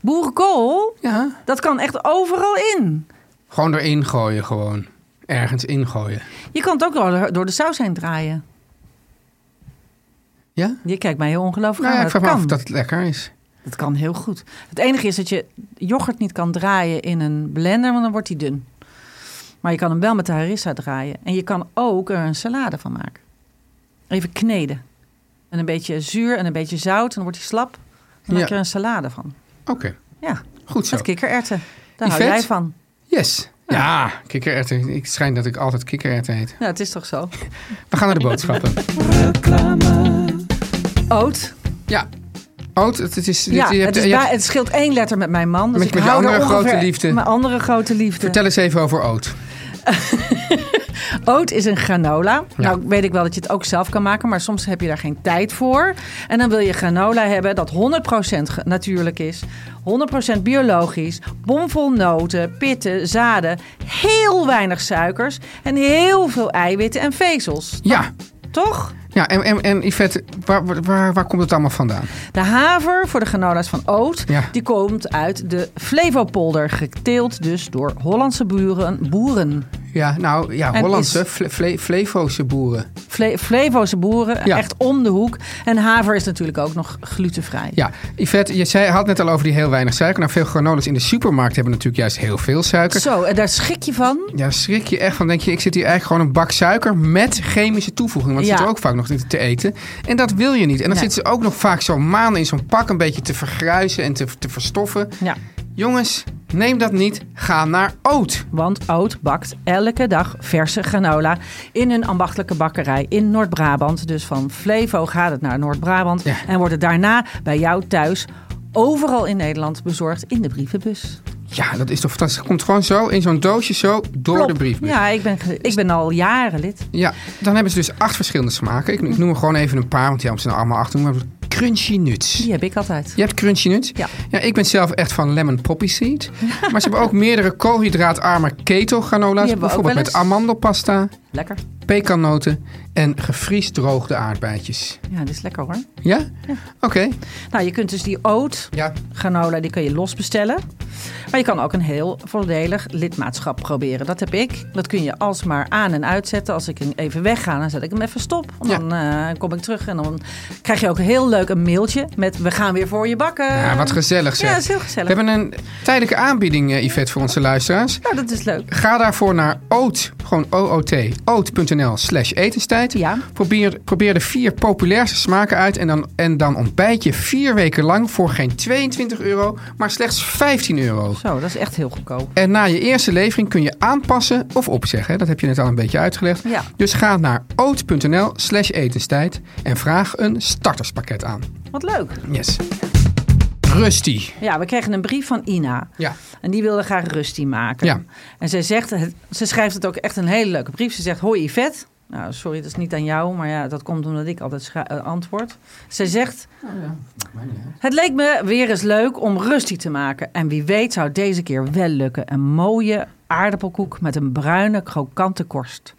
Speaker 3: Boerenkool,
Speaker 2: Ja.
Speaker 3: dat kan echt overal in.
Speaker 2: Gewoon erin gooien, gewoon. Ergens ingooien.
Speaker 3: Je kan het ook door- door de saus heen draaien.
Speaker 2: Ja?
Speaker 3: Je kijkt mij heel ongelooflijk
Speaker 2: Nou ja,
Speaker 3: aan.
Speaker 2: ik
Speaker 3: dat
Speaker 2: vraag me af
Speaker 3: kan.
Speaker 2: of
Speaker 3: Dat...
Speaker 2: dat het lekker is.
Speaker 3: kan heel goed. Het enige is dat je yoghurt niet kan draaien in een blender, want dan wordt hij dun. Maar je kan hem wel met de harissa draaien. En je kan ook er een salade van maken. Even kneden. En een beetje zuur en een beetje zout. En dan wordt hij slap. Dan maak je
Speaker 2: Ja.
Speaker 3: er een salade van.
Speaker 2: Oké,
Speaker 3: Ja,
Speaker 2: goed zo.
Speaker 3: met kikkererwten. Daar hou
Speaker 2: Yvette?
Speaker 3: jij van.
Speaker 2: Yes. Ja, kikkererwten. Ik schijn dat ik altijd kikkererwten heet.
Speaker 3: Ja, het is toch zo.
Speaker 2: We gaan naar de boodschappen.
Speaker 3: Oud.
Speaker 2: Ja. Oud, het, het is... dit-
Speaker 3: Ja,
Speaker 2: je hebt-
Speaker 3: het, is
Speaker 2: je hebt-
Speaker 3: bij- het scheelt één letter met mijn man. Dus
Speaker 2: Met-
Speaker 3: ik
Speaker 2: met je
Speaker 3: hou er
Speaker 2: andere
Speaker 3: ongeveer-
Speaker 2: grote liefde.
Speaker 3: Mijn andere grote liefde.
Speaker 2: Vertel eens even over oud.
Speaker 3: Oat is een granola.
Speaker 2: Ja.
Speaker 3: Nou weet ik wel dat je het ook zelf kan maken, maar soms heb je daar geen tijd voor. En dan wil je granola hebben dat 100% ge- natuurlijk is, 100% biologisch, bomvol noten, pitten, zaden, heel weinig suikers en heel veel eiwitten en vezels.
Speaker 2: Ja.
Speaker 3: Toch?
Speaker 2: Ja, en, en, en Yvette, waar, waar- waar, waar komt het allemaal vandaan?
Speaker 3: De haver voor de granola's van Oot,
Speaker 2: Ja.
Speaker 3: die komt uit de Flevopolder, geteeld dus door Hollandse buren, boeren.
Speaker 2: Ja, nou, ja,
Speaker 3: En
Speaker 2: Hollandse,
Speaker 3: is-
Speaker 2: fle, fle- Flevoose boeren.
Speaker 3: Fle Flevo's boeren,
Speaker 2: Ja.
Speaker 3: echt om de hoek. En haver is natuurlijk ook nog glutenvrij.
Speaker 2: Ja, Yvette, je zei, had net al over die heel weinig suiker. Nou, veel granolas in de supermarkt hebben natuurlijk juist heel veel suiker.
Speaker 3: Zo, en daar schrik je van.
Speaker 2: Ja, schrik je echt van. Denk je, ik zit hier eigenlijk gewoon een bak suiker met chemische toevoeging. Want het
Speaker 3: Ja.
Speaker 2: zit er ook vaak nog in te eten. En dat wil je niet. En dan
Speaker 3: Nee.
Speaker 2: zitten ze ook nog vaak zo'n maanden in zo'n pak een beetje te vergruisen en te, te verstoffen.
Speaker 3: Ja,
Speaker 2: Jongens, neem dat niet. Ga naar oot.
Speaker 3: want Oud bakt elke dag verse granola in een ambachtelijke bakkerij in Noord-Brabant. Dus van Flevo gaat het naar Noord-Brabant
Speaker 2: Ja.
Speaker 3: en wordt het daarna bij jou thuis overal in Nederland bezorgd in de brievenbus.
Speaker 2: Ja, dat is toch fantastisch. Komt gewoon zo in zo'n doosje zo door de
Speaker 3: Plop.
Speaker 2: briefbus.
Speaker 3: Ja, ik ben, ge- ik ben al jaren lid.
Speaker 2: Ja, dan hebben ze dus acht verschillende smaken. Ik, ik noem er gewoon even een paar, want die hebben ze nou allemaal acht. noemen. Maar crunchy nuts.
Speaker 3: Die heb ik altijd.
Speaker 2: Je hebt crunchy nuts?
Speaker 3: Ja.
Speaker 2: Ik ben zelf echt van lemon poppy seed. Maar ze hebben ook meerdere koolhydraatarme keto
Speaker 3: Die
Speaker 2: granola's.
Speaker 3: hebben we ook
Speaker 2: Bijvoorbeeld
Speaker 3: wel
Speaker 2: met
Speaker 3: eens.
Speaker 2: amandelpasta,
Speaker 3: Lekker.
Speaker 2: pekannoten en gefriesdroogde aardbeidjes.
Speaker 3: Ja, dat is lekker hoor.
Speaker 2: Ja? Oké.
Speaker 3: Nou, je kunt dus die oot
Speaker 2: Ja.
Speaker 3: granola, die kun je los bestellen. Maar je kan ook een heel voordelig lidmaatschap proberen. Dat heb ik. Dat kun je alsmaar aan en uitzetten. Als ik hem even wegga, dan zet ik hem even stop. En
Speaker 2: Ja.
Speaker 3: Dan eh, kom ik terug en dan krijg je ook heel leuk een mailtje met... we gaan weer voor je bakken.
Speaker 2: Ja, wat gezellig zeg.
Speaker 3: Ja, dat is heel gezellig.
Speaker 2: We hebben een tijdelijke aanbieding, eh, Yvette, voor onze luisteraars.
Speaker 3: Nou, dat is leuk.
Speaker 2: Ga daarvoor naar oot, gewoon OOT, oot.nl slash etenstijd.
Speaker 3: Ja.
Speaker 2: Probeer, probeer de vier populairste smaken uit en dan, en dan ontbijt je vier weken lang voor geen 22 euro, maar slechts 15 euro.
Speaker 3: Zo, dat is echt heel goedkoop.
Speaker 2: En na je eerste levering kun je aanpassen of opzeggen. hè. Dat heb je net al een beetje uitgelegd.
Speaker 3: Ja.
Speaker 2: Dus ga naar oot.nl slash etenstijd en vraag een starterspakket aan.
Speaker 3: Wat leuk.
Speaker 2: Yes. Rusty.
Speaker 3: Ja, we kregen een brief van Ina.
Speaker 2: Ja.
Speaker 3: En die wilde graag Rusty maken.
Speaker 2: Ja.
Speaker 3: En zij zegt, het- ze schrijft het ook echt een hele leuke brief. Ze zegt, hoi Yvette. Nou, sorry, dat is niet aan jou, maar ja, dat komt omdat ik altijd scha- eh, antwoord. Ze zegt,
Speaker 2: Oh,
Speaker 3: het leek me weer eens leuk om Rusty te maken. En wie weet zou deze keer wel lukken. Een mooie aardappelkoek met een bruine krokante korst.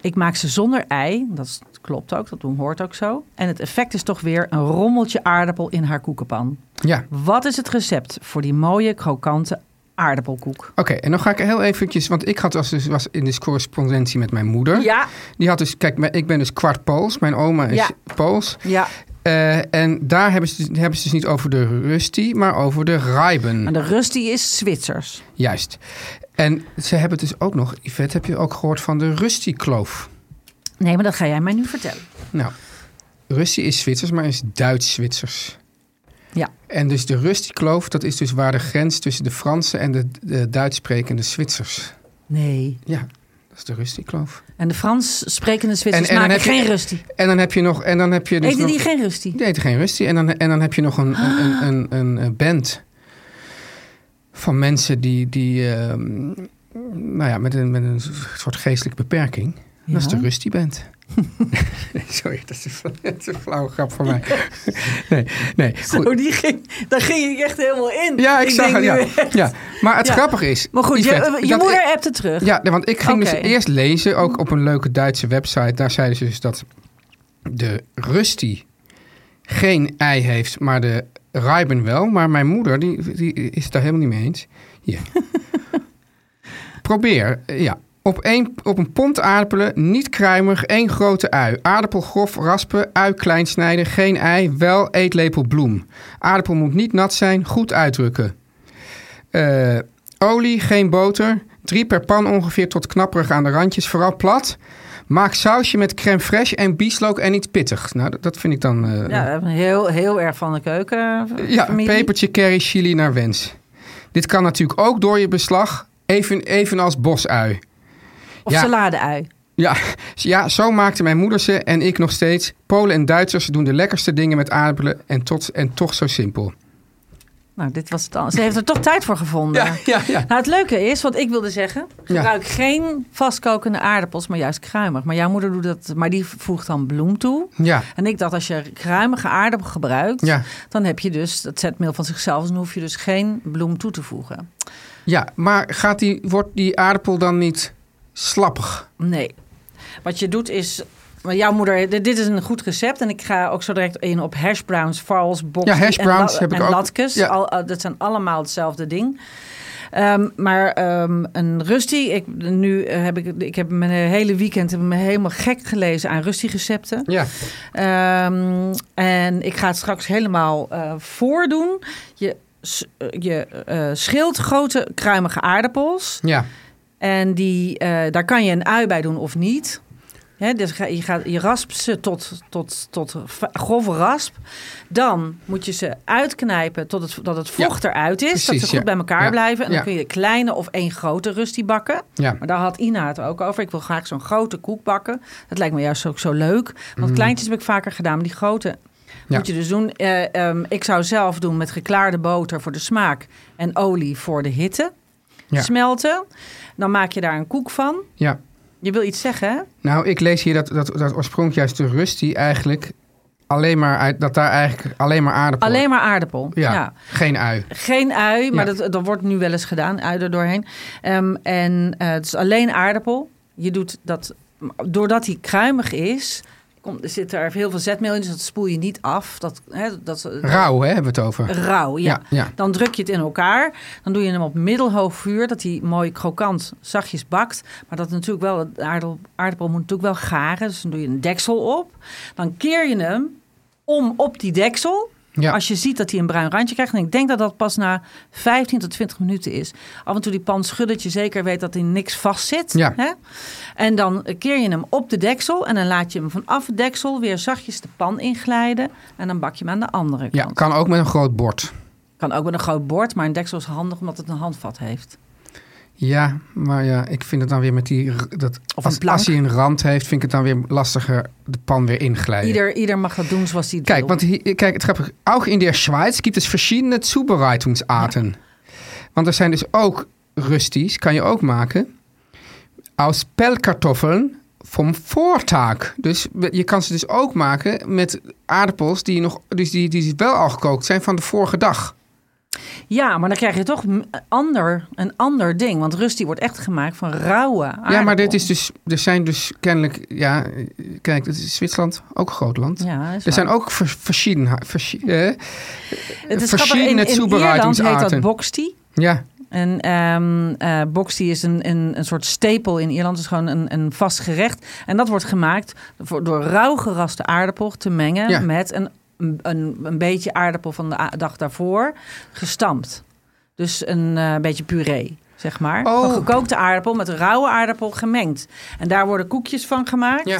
Speaker 3: Ik maak ze zonder ei, dat is- klopt ook, dat hoort ook zo. En het effect is toch weer een rommeltje aardappel in haar koekenpan.
Speaker 2: Ja.
Speaker 3: Wat is het recept voor die mooie krokante aardappelkoek?
Speaker 2: Oké, en dan ga ik heel eventjes, want ik had was, dus, was in dus correspondentie met mijn moeder.
Speaker 3: Ja,
Speaker 2: Die had dus, kijk, mijn- ik ben dus kwart Pools, mijn oma is
Speaker 3: Ja.
Speaker 2: Pools.
Speaker 3: ja.
Speaker 2: Eh, en daar hebben ze, dus- hebben ze dus niet over de Rusty, maar over de Rijben.
Speaker 3: En de rust die is Zwitsers.
Speaker 2: Juist. En ze hebben het dus ook nog, Yvette, heb je ook gehoord van de Rusty-kloof?
Speaker 3: Nee, maar dat ga jij mij nu vertellen.
Speaker 2: Nou, Rusty is Zwitsers, maar is Duits-Zwitsers.
Speaker 3: Ja.
Speaker 2: En dus de Rusty-kloof, dat is dus waar de grens tussen de Fransen en de, de Duits sprekende Zwitsers.
Speaker 3: Nee.
Speaker 2: Ja, dat is de Rusty-kloof.
Speaker 3: En de Frans sprekende Zwitsers
Speaker 2: En- en dan
Speaker 3: maken
Speaker 2: heb je-
Speaker 3: geen rustie.
Speaker 2: En dan heb je nog, en dan heb je dus
Speaker 3: Eten
Speaker 2: nog,
Speaker 3: die geen rustie?
Speaker 2: Die eten geen rustie. En dan, en dan heb je nog een, een,
Speaker 3: Ah.
Speaker 2: een, een, een, eh, band van mensen die, die ehm, nou ja, met een, met een soort geestelijke beperking. Dat is de Rusty Band. Nee, Sorry, dat is, een, fla- dat is een flauwe grap van mij. Nee, nee. Goed.
Speaker 3: die ging, daar ging ik echt helemaal in.
Speaker 2: Ja, ik zag
Speaker 3: denk
Speaker 2: het. Ja.
Speaker 3: nu echt-
Speaker 2: Ja. Maar het
Speaker 3: Ja.
Speaker 2: grappige is...
Speaker 3: Maar goed,
Speaker 2: Yvette,
Speaker 3: je, je
Speaker 2: dat e-
Speaker 3: moeder
Speaker 2: ik-
Speaker 3: hebt het terug.
Speaker 2: ja, nee, want ik ging
Speaker 3: Oké.
Speaker 2: dus eerst lezen, ook op een leuke Duitse website. Daar zeiden ze dus dat de Rusty geen ei heeft, maar de Rijben wel. Maar mijn moeder, die, die is het daar helemaal niet mee eens. Hier. Probeer, eh, ja. Op een, op een pond aardappelen, niet kruimig, één grote ui. Aardappel grof raspen, ui klein snijden, geen ei, wel eetlepel bloem. Aardappel moet niet nat zijn, goed uitdrukken. Eh, olie, geen boter. Drie per pan ongeveer tot knapperig aan de randjes, vooral plat. Maak sausje met crème fraîche en bieslook en iets pittig. Nou, dat, dat vind ik dan... eh,
Speaker 3: Ja, we hebben heel, heel erg van de keuken. eh,
Speaker 2: ja,
Speaker 3: familie.
Speaker 2: pepertje, curry, chili naar wens. Dit kan natuurlijk ook door je beslag Even, evenals bosui.
Speaker 3: Of
Speaker 2: Ja.
Speaker 3: saladeui.
Speaker 2: Ja, ja, zo maakten mijn moeder ze en ik nog steeds. Polen en Duitsers doen de lekkerste dingen met aardappelen en, tot, en toch zo simpel.
Speaker 3: Nou, dit was het al. Ze heeft er toch tijd voor gevonden.
Speaker 2: ja, ja.
Speaker 3: Nou, het leuke is, wat ik wilde zeggen,
Speaker 2: Ja.
Speaker 3: gebruik geen vastkokende aardappels, maar juist kruimig. Maar jouw moeder doet dat, maar die voegt dan bloem toe.
Speaker 2: Ja,
Speaker 3: En ik dacht, als je kruimige aardappel gebruikt,
Speaker 2: Ja. dan
Speaker 3: dan heb je dus het zetmeel van zichzelf. Dus dan hoef je dus geen bloem toe te voegen.
Speaker 2: ja. maar gaat die, wordt die aardappel dan niet slappig?
Speaker 3: Nee. Wat je doet is. maar Jouw moeder, dit dit is een goed recept. En ik ga ook zo direct in op hash browns, farls, box
Speaker 2: Ja, hash browns heb ik
Speaker 3: en
Speaker 2: ook.
Speaker 3: latkes.
Speaker 2: Ja.
Speaker 3: Al, eh, dat zijn allemaal hetzelfde ding. Ehm, maar ehm, een Rusty, ik, nu eh, heb ik, ik heb mijn hele weekend heb ik me helemaal gek gelezen aan Rusty recepten.
Speaker 2: Ja,
Speaker 3: Ehm, en ik ga het straks helemaal eh, voordoen. Je, s- eh, je eh, schilt grote kruimige aardappels.
Speaker 2: ja.
Speaker 3: En die, eh, daar kan je een ui bij doen of niet. Hè, dus ga- je, gaat, je raspt ze tot, tot, tot v- grove rasp. Dan moet je ze uitknijpen tot het, dat het vocht eruit is. dat
Speaker 2: precies,
Speaker 3: ze goed
Speaker 2: ja.
Speaker 3: bij elkaar
Speaker 2: Ja,
Speaker 3: blijven. En
Speaker 2: ja.
Speaker 3: dan kun je kleine of één grote rustie bakken.
Speaker 2: ja.
Speaker 3: Maar daar had Ina het ook over. Ik wil graag zo'n grote koek bakken. Dat lijkt me juist ook zo leuk. Want kleintjes heb ik vaker gedaan, maar die grote
Speaker 2: Mm. Ja.
Speaker 3: moet je dus doen. Eh, ehm, ik zou zelf doen met geklaarde boter voor de smaak en olie voor de hitte.
Speaker 2: Ja.
Speaker 3: Smelten. Dan maak je daar een koek van.
Speaker 2: ja.
Speaker 3: Je wil iets zeggen, hè?
Speaker 2: Nou, ik lees hier dat, dat, dat oorspronkelijk juist de rust die eigenlijk alleen maar uit, dat daar eigenlijk alleen maar aardappel.
Speaker 3: Alleen maar aardappel.
Speaker 2: ja, geen ui.
Speaker 3: Geen ui, maar
Speaker 2: Ja.
Speaker 3: dat, dat wordt nu wel eens gedaan, ui er doorheen. Ehm, en eh, het is alleen aardappel. Je doet dat, doordat hij kruimig is, komt, er zit er heel veel zetmeel in, dus dat spoel je niet af. Dat, hè, dat,
Speaker 2: Rauw, hè, hebben we het over.
Speaker 3: Rauw, ja.
Speaker 2: Ja, ja.
Speaker 3: Dan druk je het in elkaar. Dan doe je hem op middelhoog vuur, dat hij mooi krokant zachtjes bakt. Maar dat natuurlijk wel, het aardappel, aardappel moet natuurlijk wel garen, dus dan doe je een deksel op. Dan keer je hem om op die deksel.
Speaker 2: Ja.
Speaker 3: Als je ziet dat hij een bruin randje krijgt. En ik denk dat dat pas na 15 tot 20 minuten is. Af en toe die pan schudden, dat je zeker weet dat hij niks vast zit.
Speaker 2: Ja.
Speaker 3: Hè? En dan keer je hem op de deksel. En dan laat je hem vanaf het deksel weer zachtjes de pan inglijden. En dan bak je hem aan de andere
Speaker 2: Ja,
Speaker 3: kant.
Speaker 2: kan ook met een groot bord.
Speaker 3: Kan ook met een groot bord, maar een deksel is handig omdat het een handvat heeft.
Speaker 2: Ja, maar ja, ik vind het dan weer met die. r- Dat,
Speaker 3: Of
Speaker 2: als,
Speaker 3: een plank.
Speaker 2: als hij een rand heeft, vind ik het dan weer lastiger de pan weer inglijden.
Speaker 3: Ieder, ieder mag dat doen zoals hij het
Speaker 2: Kijk,
Speaker 3: wil.
Speaker 2: want hier, kijk, het grappige. Ook in der Schweiz gibt es verschillende Zubereitungsarten. Want er zijn dus ook rusties, kan je ook maken. Aus pelkartoffeln vom Vortag. Dus we- je kan ze dus ook maken met aardappels die, nog, dus die, die wel al gekookt zijn van de vorige dag.
Speaker 3: Ja, maar dan krijg je toch een ander, een ander ding. Want rust die wordt echt gemaakt van rauwe aardappel.
Speaker 2: Ja, maar dit is dus, er zijn dus kennelijk, ja, kijk, het is Zwitserland ook een groot land.
Speaker 3: Ja, is
Speaker 2: er zijn
Speaker 3: waar.
Speaker 2: ook vers- verschillende, versi- eh,
Speaker 3: het is grappig,
Speaker 2: verschillende
Speaker 3: in, in Ierland heet dat
Speaker 2: Zubereitungsarten.
Speaker 3: boxty.
Speaker 2: Ja,
Speaker 3: En ehm eh, boxty is een, een, een soort stapel in Ierland. Het is gewoon een, een vast gerecht. En dat wordt gemaakt voor, door rauw geraste aardappel te mengen
Speaker 2: Ja.
Speaker 3: met een, een, een beetje aardappel van de a- dag daarvoor gestampt. Dus een eh, beetje puree, zeg maar.
Speaker 2: Oh.
Speaker 3: Van gekookte aardappel met rauwe aardappel gemengd. En daar worden koekjes van gemaakt.
Speaker 2: Ja.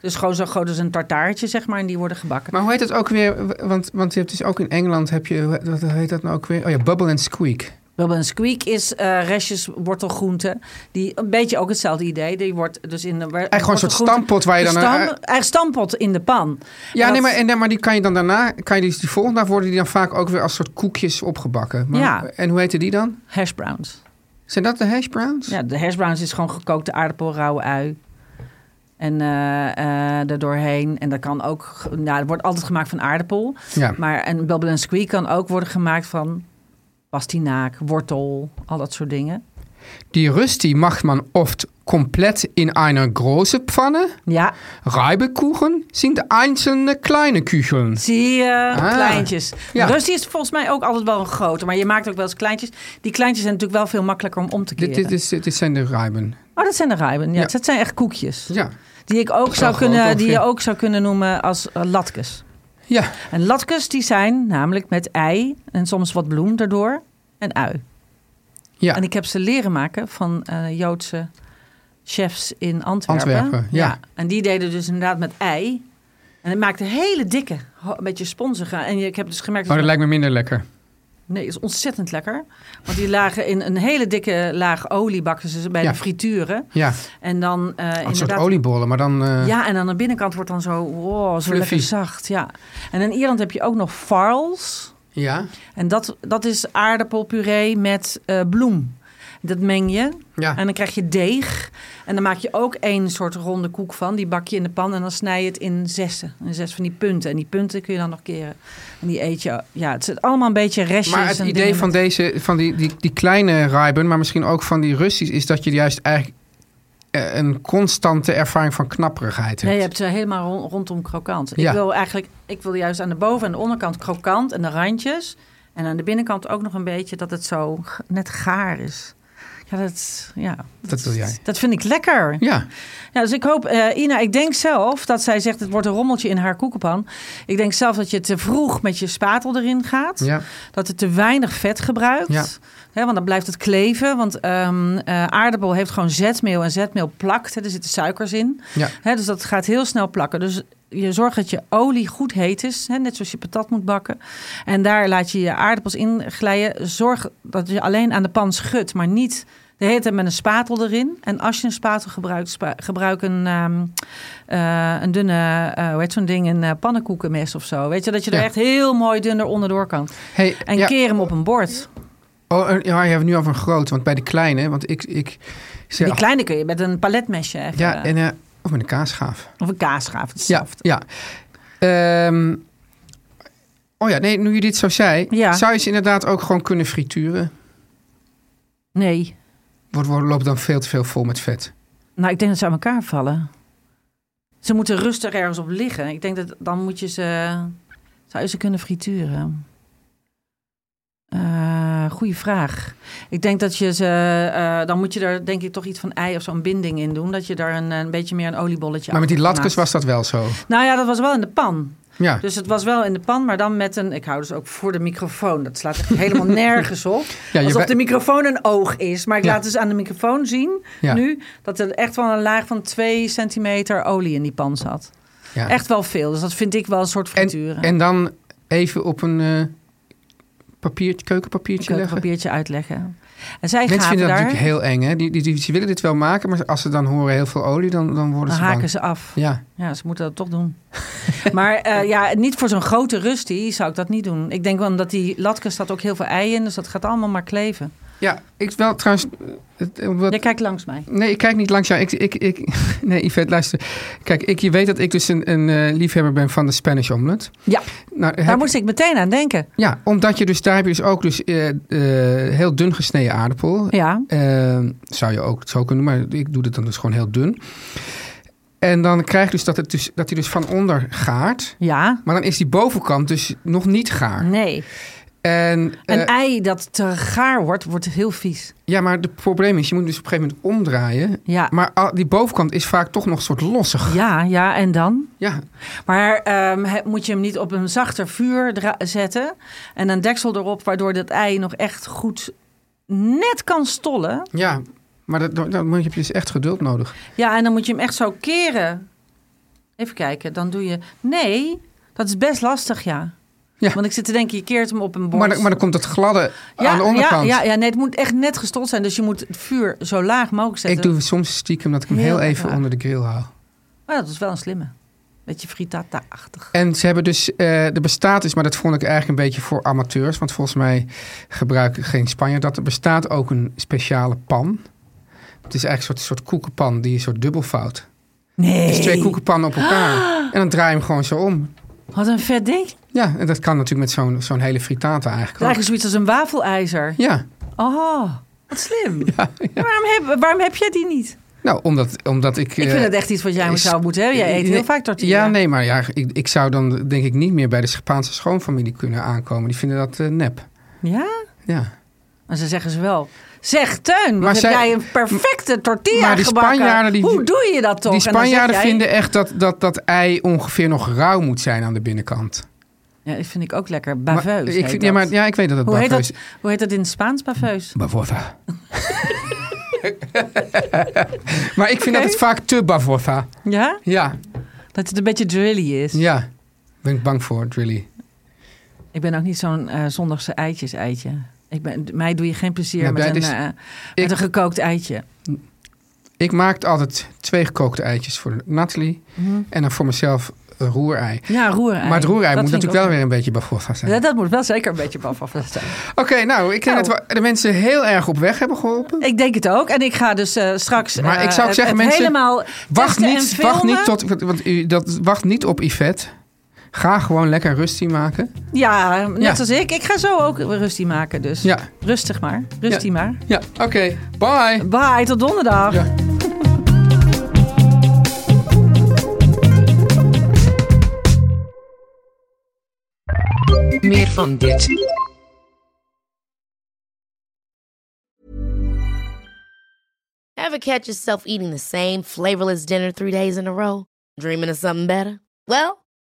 Speaker 3: Dus gewoon zo groot als een tartaartje, zeg maar. En die worden gebakken.
Speaker 2: Maar hoe heet dat ook weer? Want, want je hebt dus ook in Engeland heb je, wat heet dat nou ook weer? Oh ja, Bubble and Squeak.
Speaker 3: Bubble and squeak is eh, restjes wortelgroenten. Die een beetje ook hetzelfde idee. Die wordt dus in de
Speaker 2: Eigenlijk gewoon een soort stampot waar je dan...
Speaker 3: Stam,
Speaker 2: een-
Speaker 3: eigenlijk stampot in de pan.
Speaker 2: ja, nee,
Speaker 3: En dat-
Speaker 2: maar, en, dan- maar die kan je dan daarna, kan je die, die volgende dag worden die dan vaak ook weer als soort koekjes opgebakken. Maar,
Speaker 3: Ja.
Speaker 2: En hoe heette die dan?
Speaker 3: hash browns.
Speaker 2: Zijn dat de hash browns?
Speaker 3: Ja, de hash browns is gewoon gekookte aardappel, rauwe ui. En eh eh erdoorheen. En dat kan ook... ge- Nou, dat wordt altijd gemaakt van aardappel.
Speaker 2: Ja.
Speaker 3: Maar een bubble and squeak kan ook worden gemaakt van pastinaak, wortel, al dat soort dingen.
Speaker 2: Die Rusti macht man oft komplett in einer große Pfanne.
Speaker 3: Ja,
Speaker 2: Reibekuchen sind einzelne kleine Kücheln.
Speaker 3: Zie je,
Speaker 2: Ah.
Speaker 3: kleintjes.
Speaker 2: Ja.
Speaker 3: Rusty is volgens mij ook altijd wel een grote, maar je maakt ook wel eens kleintjes. Die kleintjes zijn natuurlijk wel veel makkelijker om om te keren.
Speaker 2: Dit, dit, is, dit zijn de Reiben.
Speaker 3: Oh, dat zijn de rijben. Ja,
Speaker 2: Ja.
Speaker 3: Dat zijn echt koekjes.
Speaker 2: Ja.
Speaker 3: Die, ik ook zou
Speaker 2: groot ongeveer.
Speaker 3: kunnen, die je ook zou kunnen noemen als eh, latkes.
Speaker 2: Ja.
Speaker 3: En latkes die zijn namelijk met ei en soms wat bloem daardoor en ui.
Speaker 2: ja.
Speaker 3: En ik heb ze leren maken van eh, Joodse chefs in Antwerpen.
Speaker 2: Antwerpen, ja.
Speaker 3: En die deden dus inderdaad met ei. En het maakte hele dikke, ho- een beetje sponsige. En je- ik heb dus gemerkt...
Speaker 2: Oh, Maar dat lijkt me minder lekker.
Speaker 3: Nee, is ontzettend lekker. Want die lagen in een hele dikke laag olie bakken ze ze bij
Speaker 2: Ja.
Speaker 3: de frituren.
Speaker 2: Ja,
Speaker 3: En dan eh
Speaker 2: een soort
Speaker 3: inderdaad...
Speaker 2: oliebollen, maar dan... eh,
Speaker 3: Ja, en aan de binnenkant wordt dan zo, wow, zo
Speaker 2: Fluffy.
Speaker 3: lekker zacht. Ja. En in Ierland heb je ook nog farls.
Speaker 2: ja,
Speaker 3: En dat, dat is aardappelpuree met eh, bloem. Dat meng je.
Speaker 2: ja.
Speaker 3: En dan krijg je deeg. En dan maak je ook één soort ronde koek van. Die bak je in de pan en dan snij je het in zessen. In zes van die punten. En die punten kun je dan nog keren. En die eet je. Ja, het zit allemaal een beetje restjes.
Speaker 2: Maar het
Speaker 3: en
Speaker 2: idee
Speaker 3: dingen
Speaker 2: van,
Speaker 3: met-
Speaker 2: deze, van die, die, die kleine Rijben, maar misschien ook van die Russisch, is dat je juist eigenlijk eh, een constante ervaring van knapperigheid hebt.
Speaker 3: Nee, je hebt ze helemaal ron- rondom krokant.
Speaker 2: Ja.
Speaker 3: Ik wil eigenlijk, ik wil juist aan de boven- en de onderkant krokant en de randjes. En aan de binnenkant ook nog een beetje dat het zo g- net gaar is. Ja, dat, ja,
Speaker 2: Dat wil jij.
Speaker 3: dat vind ik lekker.
Speaker 2: Ja,
Speaker 3: Ja, dus ik hoop, eh, Ina, ik denk zelf dat zij zegt het wordt een rommeltje in haar koekenpan. Ik denk zelf dat je te vroeg met je spatel erin gaat.
Speaker 2: ja.
Speaker 3: Dat het te weinig vet gebruikt.
Speaker 2: Ja.
Speaker 3: Hè, want dan blijft het kleven. Want ehm, eh, aardappel heeft gewoon zetmeel en zetmeel plakt. Hè, er zitten suikers in.
Speaker 2: Ja.
Speaker 3: Hè, dus dat gaat heel snel plakken. Dus je zorgt dat je olie goed heet is. Hè, net zoals je patat moet bakken. En daar laat je je aardappels in glijden. Zorg dat je alleen aan de pan schudt. Maar niet de hele tijd met een spatel erin. En als je een spatel gebruikt, spa- gebruik een, ehm, eh, een dunne, eh hoe heet zo'n ding, een eh, pannenkoekenmes of zo. Weet je, dat je er
Speaker 2: Ja.
Speaker 3: echt heel mooi dun er onderdoor kan.
Speaker 2: Hey,
Speaker 3: En
Speaker 2: ja.
Speaker 3: keer hem op een bord.
Speaker 2: Oh, en- ja, je hebt het nu over een groot, want bij de kleine, want ik, ik zeg...
Speaker 3: Die kleine kun je met een paletmesje even.
Speaker 2: ja, en, eh, of met een kaasschaaf.
Speaker 3: Of een kaasschaaf. het is
Speaker 2: Ja,
Speaker 3: hetzelfde.
Speaker 2: ja. Ehm, oh ja, nee, nu je dit zo zei,
Speaker 3: Ja.
Speaker 2: zou je ze inderdaad ook gewoon kunnen frituren?
Speaker 3: Nee.
Speaker 2: Wordt, wordt, loopt dan veel te veel vol met vet.
Speaker 3: Nou, ik denk dat ze aan elkaar vallen. Ze moeten rustig ergens op liggen. Ik denk dat dan moet je ze... Zou je ze kunnen frituren? Eh goeie vraag. Ik denk dat je ze... eh, dan moet je er denk ik toch iets van ei of zo'n binding in doen. Dat je daar een, een beetje meer een oliebolletje
Speaker 2: maar met die
Speaker 3: achter
Speaker 2: latkes
Speaker 3: maakt.
Speaker 2: was dat wel zo.
Speaker 3: Nou ja, dat was wel in de pan.
Speaker 2: Ja,
Speaker 3: Dus het was wel in de pan, maar dan met een... Ik hou dus ook voor de microfoon. Dat slaat echt helemaal nergens op.
Speaker 2: ja je
Speaker 3: Alsof
Speaker 2: we-
Speaker 3: de microfoon een oog is. Maar ik
Speaker 2: Ja.
Speaker 3: laat dus aan de microfoon zien
Speaker 2: Ja.
Speaker 3: nu... dat er echt wel een laag van 2 centimeter olie in die pan zat.
Speaker 2: ja.
Speaker 3: Echt wel veel. Dus dat vind ik wel een soort frituren.
Speaker 2: En, en dan even op een eh papiertje, keukenpapiertje
Speaker 3: Kun je ook een
Speaker 2: leggen.
Speaker 3: papiertje uitleggen. En zij
Speaker 2: Mensen
Speaker 3: gaven
Speaker 2: vinden dat
Speaker 3: daar,
Speaker 2: natuurlijk heel eng. Hè? Die, die, die, ze willen dit wel maken, maar als ze dan horen heel veel olie, dan, dan worden
Speaker 3: dan
Speaker 2: ze
Speaker 3: haken
Speaker 2: bang.
Speaker 3: ze af.
Speaker 2: Ja,
Speaker 3: Ja, ze moeten dat toch doen. maar eh, ja, niet voor zo'n grote rustie zou ik dat niet doen. Ik denk wel omdat die latkes staat ook heel veel ei in. Dus dat gaat allemaal maar kleven.
Speaker 2: ja ik wel trouwens... het- eh, omdat-
Speaker 3: Jij kijkt langs mij.
Speaker 2: Nee, ik kijk niet langs jou. Ik, ik, ik, nee, Yvette, luister. Kijk, ik, je weet dat ik dus een, een eh, liefhebber ben van de Spanish omelet.
Speaker 3: Ja,
Speaker 2: Nou, heb-
Speaker 3: daar moest ik meteen aan denken.
Speaker 2: Ja, omdat je dus... Daar heb je dus ook dus, eh, eh, heel dun gesneden aardappel.
Speaker 3: Ja,
Speaker 2: Eh, zou je ook zo kunnen doen, maar ik doe het dan dus gewoon heel dun. En dan krijg je dus dat, het dus, dat hij dus van onder gaart.
Speaker 3: ja,
Speaker 2: Maar dan is die bovenkant dus nog niet gaar.
Speaker 3: nee.
Speaker 2: En, eh,
Speaker 3: Een ei dat te gaar wordt, wordt heel vies.
Speaker 2: ja, maar het probleem is, je moet dus op een gegeven moment omdraaien.
Speaker 3: Ja,
Speaker 2: Maar al- die bovenkant is vaak toch nog een soort lossig.
Speaker 3: ja, ja en dan?
Speaker 2: Ja,
Speaker 3: Maar ehm, he- moet je hem niet op een zachter vuur dra- zetten en een deksel erop, waardoor dat ei nog echt goed net kan stollen.
Speaker 2: ja. Maar dat, dat, dat moet- heb je dus echt geduld nodig.
Speaker 3: Ja, en dan moet je hem echt zo keren. Even kijken, dan doe je... Nee, dat is best lastig, ja.
Speaker 2: Ja.
Speaker 3: Want ik zit te denken, je keert hem op een bord.
Speaker 2: Maar, dan- maar dan komt dat gladde
Speaker 3: ja,
Speaker 2: aan de onderkant.
Speaker 3: Ja, ja, ja, nee, het moet echt net gestold zijn. Dus je moet het vuur zo laag mogelijk zetten.
Speaker 2: Ik doe soms stiekem dat ik hem heel,
Speaker 3: Heel
Speaker 2: even
Speaker 3: raar.
Speaker 2: onder de grill hou.
Speaker 3: Maar Oh dat is wel een slimme. Beetje frittata-achtig.
Speaker 2: En ze hebben dus, eh, er bestaat dus, maar dat vond ik eigenlijk een beetje voor amateurs. Want volgens mij gebruiken geen Spanjaard dat. Er bestaat ook een speciale pan. Het is eigenlijk een soort, soort koekenpan die een soort dubbelfout.
Speaker 3: Nee.
Speaker 2: Dus twee koekenpannen op elkaar.
Speaker 3: Ah.
Speaker 2: En dan draai je hem gewoon zo om.
Speaker 3: Wat een vet ding. Het
Speaker 2: Ja, en dat kan natuurlijk met zo'n zo'n hele frittata
Speaker 3: is
Speaker 2: eigenlijk ook.
Speaker 3: eigenlijk zoiets als een wafelijzer.
Speaker 2: Ja,
Speaker 3: Oh, wat slim. Waarom, heb, waarom heb jij die niet?
Speaker 2: nou, omdat, omdat ik...
Speaker 3: Ik
Speaker 2: eh,
Speaker 3: vind het echt iets wat jij
Speaker 2: is-
Speaker 3: zou moeten hebben. Oh, Jij eet
Speaker 2: Nee,
Speaker 3: heel vaak tortilla.
Speaker 2: Ja, nee, maar ja, ik, ik zou dan denk ik niet meer bij de Spaanse schoonfamilie kunnen aankomen. Die vinden dat eh, nep.
Speaker 3: Ja?
Speaker 2: Ja.
Speaker 3: Maar ze zeggen ze wel. Zeg, Teun, wat
Speaker 2: Maar
Speaker 3: heb
Speaker 2: zij-
Speaker 3: jij een perfecte tortilla
Speaker 2: maar die
Speaker 3: gebakken.
Speaker 2: Spanjaarden die-
Speaker 3: Hoe doe je dat toch?
Speaker 2: Die
Speaker 3: En dan zeg
Speaker 2: Spanjaarden
Speaker 3: jij-
Speaker 2: vinden echt dat, dat dat ei ongeveer nog rauw moet zijn aan de binnenkant.
Speaker 3: Ja, dat vind ik ook lekker.
Speaker 2: Maar
Speaker 3: Baveus
Speaker 2: ik vind, ja, maar, ja, ik weet dat het
Speaker 3: Hoe heet
Speaker 2: baveus
Speaker 3: dat, hoe heet dat in het Spaans, baveus?
Speaker 2: Bavota. maar ik vind dat het vaak te bavota.
Speaker 3: Ja?
Speaker 2: Ja,
Speaker 3: Dat het een beetje drilly is.
Speaker 2: ja. Ben ik bang voor, really.
Speaker 3: Ik ben ook niet zo'n eh, zondagse eitjes-eitje. Ik ben, mij doe je geen plezier
Speaker 2: Nou,
Speaker 3: met,
Speaker 2: dat
Speaker 3: een,
Speaker 2: is-
Speaker 3: eh, met
Speaker 2: ik-
Speaker 3: een gekookt eitje.
Speaker 2: Ik maakte altijd twee gekookte eitjes voor Natalie.
Speaker 3: Mhm.
Speaker 2: En dan voor mezelf een roerei.
Speaker 3: Ja, roerei.
Speaker 2: Maar het roerei
Speaker 3: Eh, Dat
Speaker 2: moet
Speaker 3: vind ik
Speaker 2: natuurlijk wel
Speaker 3: ook-
Speaker 2: weer een beetje bagoffa zijn.
Speaker 3: Ja, dat moet wel zeker een beetje baf zijn.
Speaker 2: Oké, nou, ik denk
Speaker 3: Nou.
Speaker 2: dat we de mensen heel erg op weg hebben geholpen.
Speaker 3: Ik denk het ook. En ik ga dus eh, straks
Speaker 2: Maar
Speaker 3: eh,
Speaker 2: ik zou ook
Speaker 3: het-
Speaker 2: zeggen,
Speaker 3: het
Speaker 2: mensen,
Speaker 3: helemaal
Speaker 2: Wacht
Speaker 3: testen en
Speaker 2: niet,
Speaker 3: filmen.
Speaker 2: wacht niet tot, want u, dat, wacht niet op Yvette. Ga gewoon lekker rustig maken.
Speaker 3: Ja, net
Speaker 2: Ja.
Speaker 3: als ik. Ik ga zo ook rustig maken. Dus
Speaker 2: Ja.
Speaker 3: rustig maar. Rustig
Speaker 2: Ja.
Speaker 3: maar.
Speaker 2: Ja, oké. Bye.
Speaker 3: Bye, tot donderdag.
Speaker 2: Ja.
Speaker 4: Meer van dit.
Speaker 5: Ever catch yourself eating the same flavorless dinner three days in a row? Dreaming of something better? Well,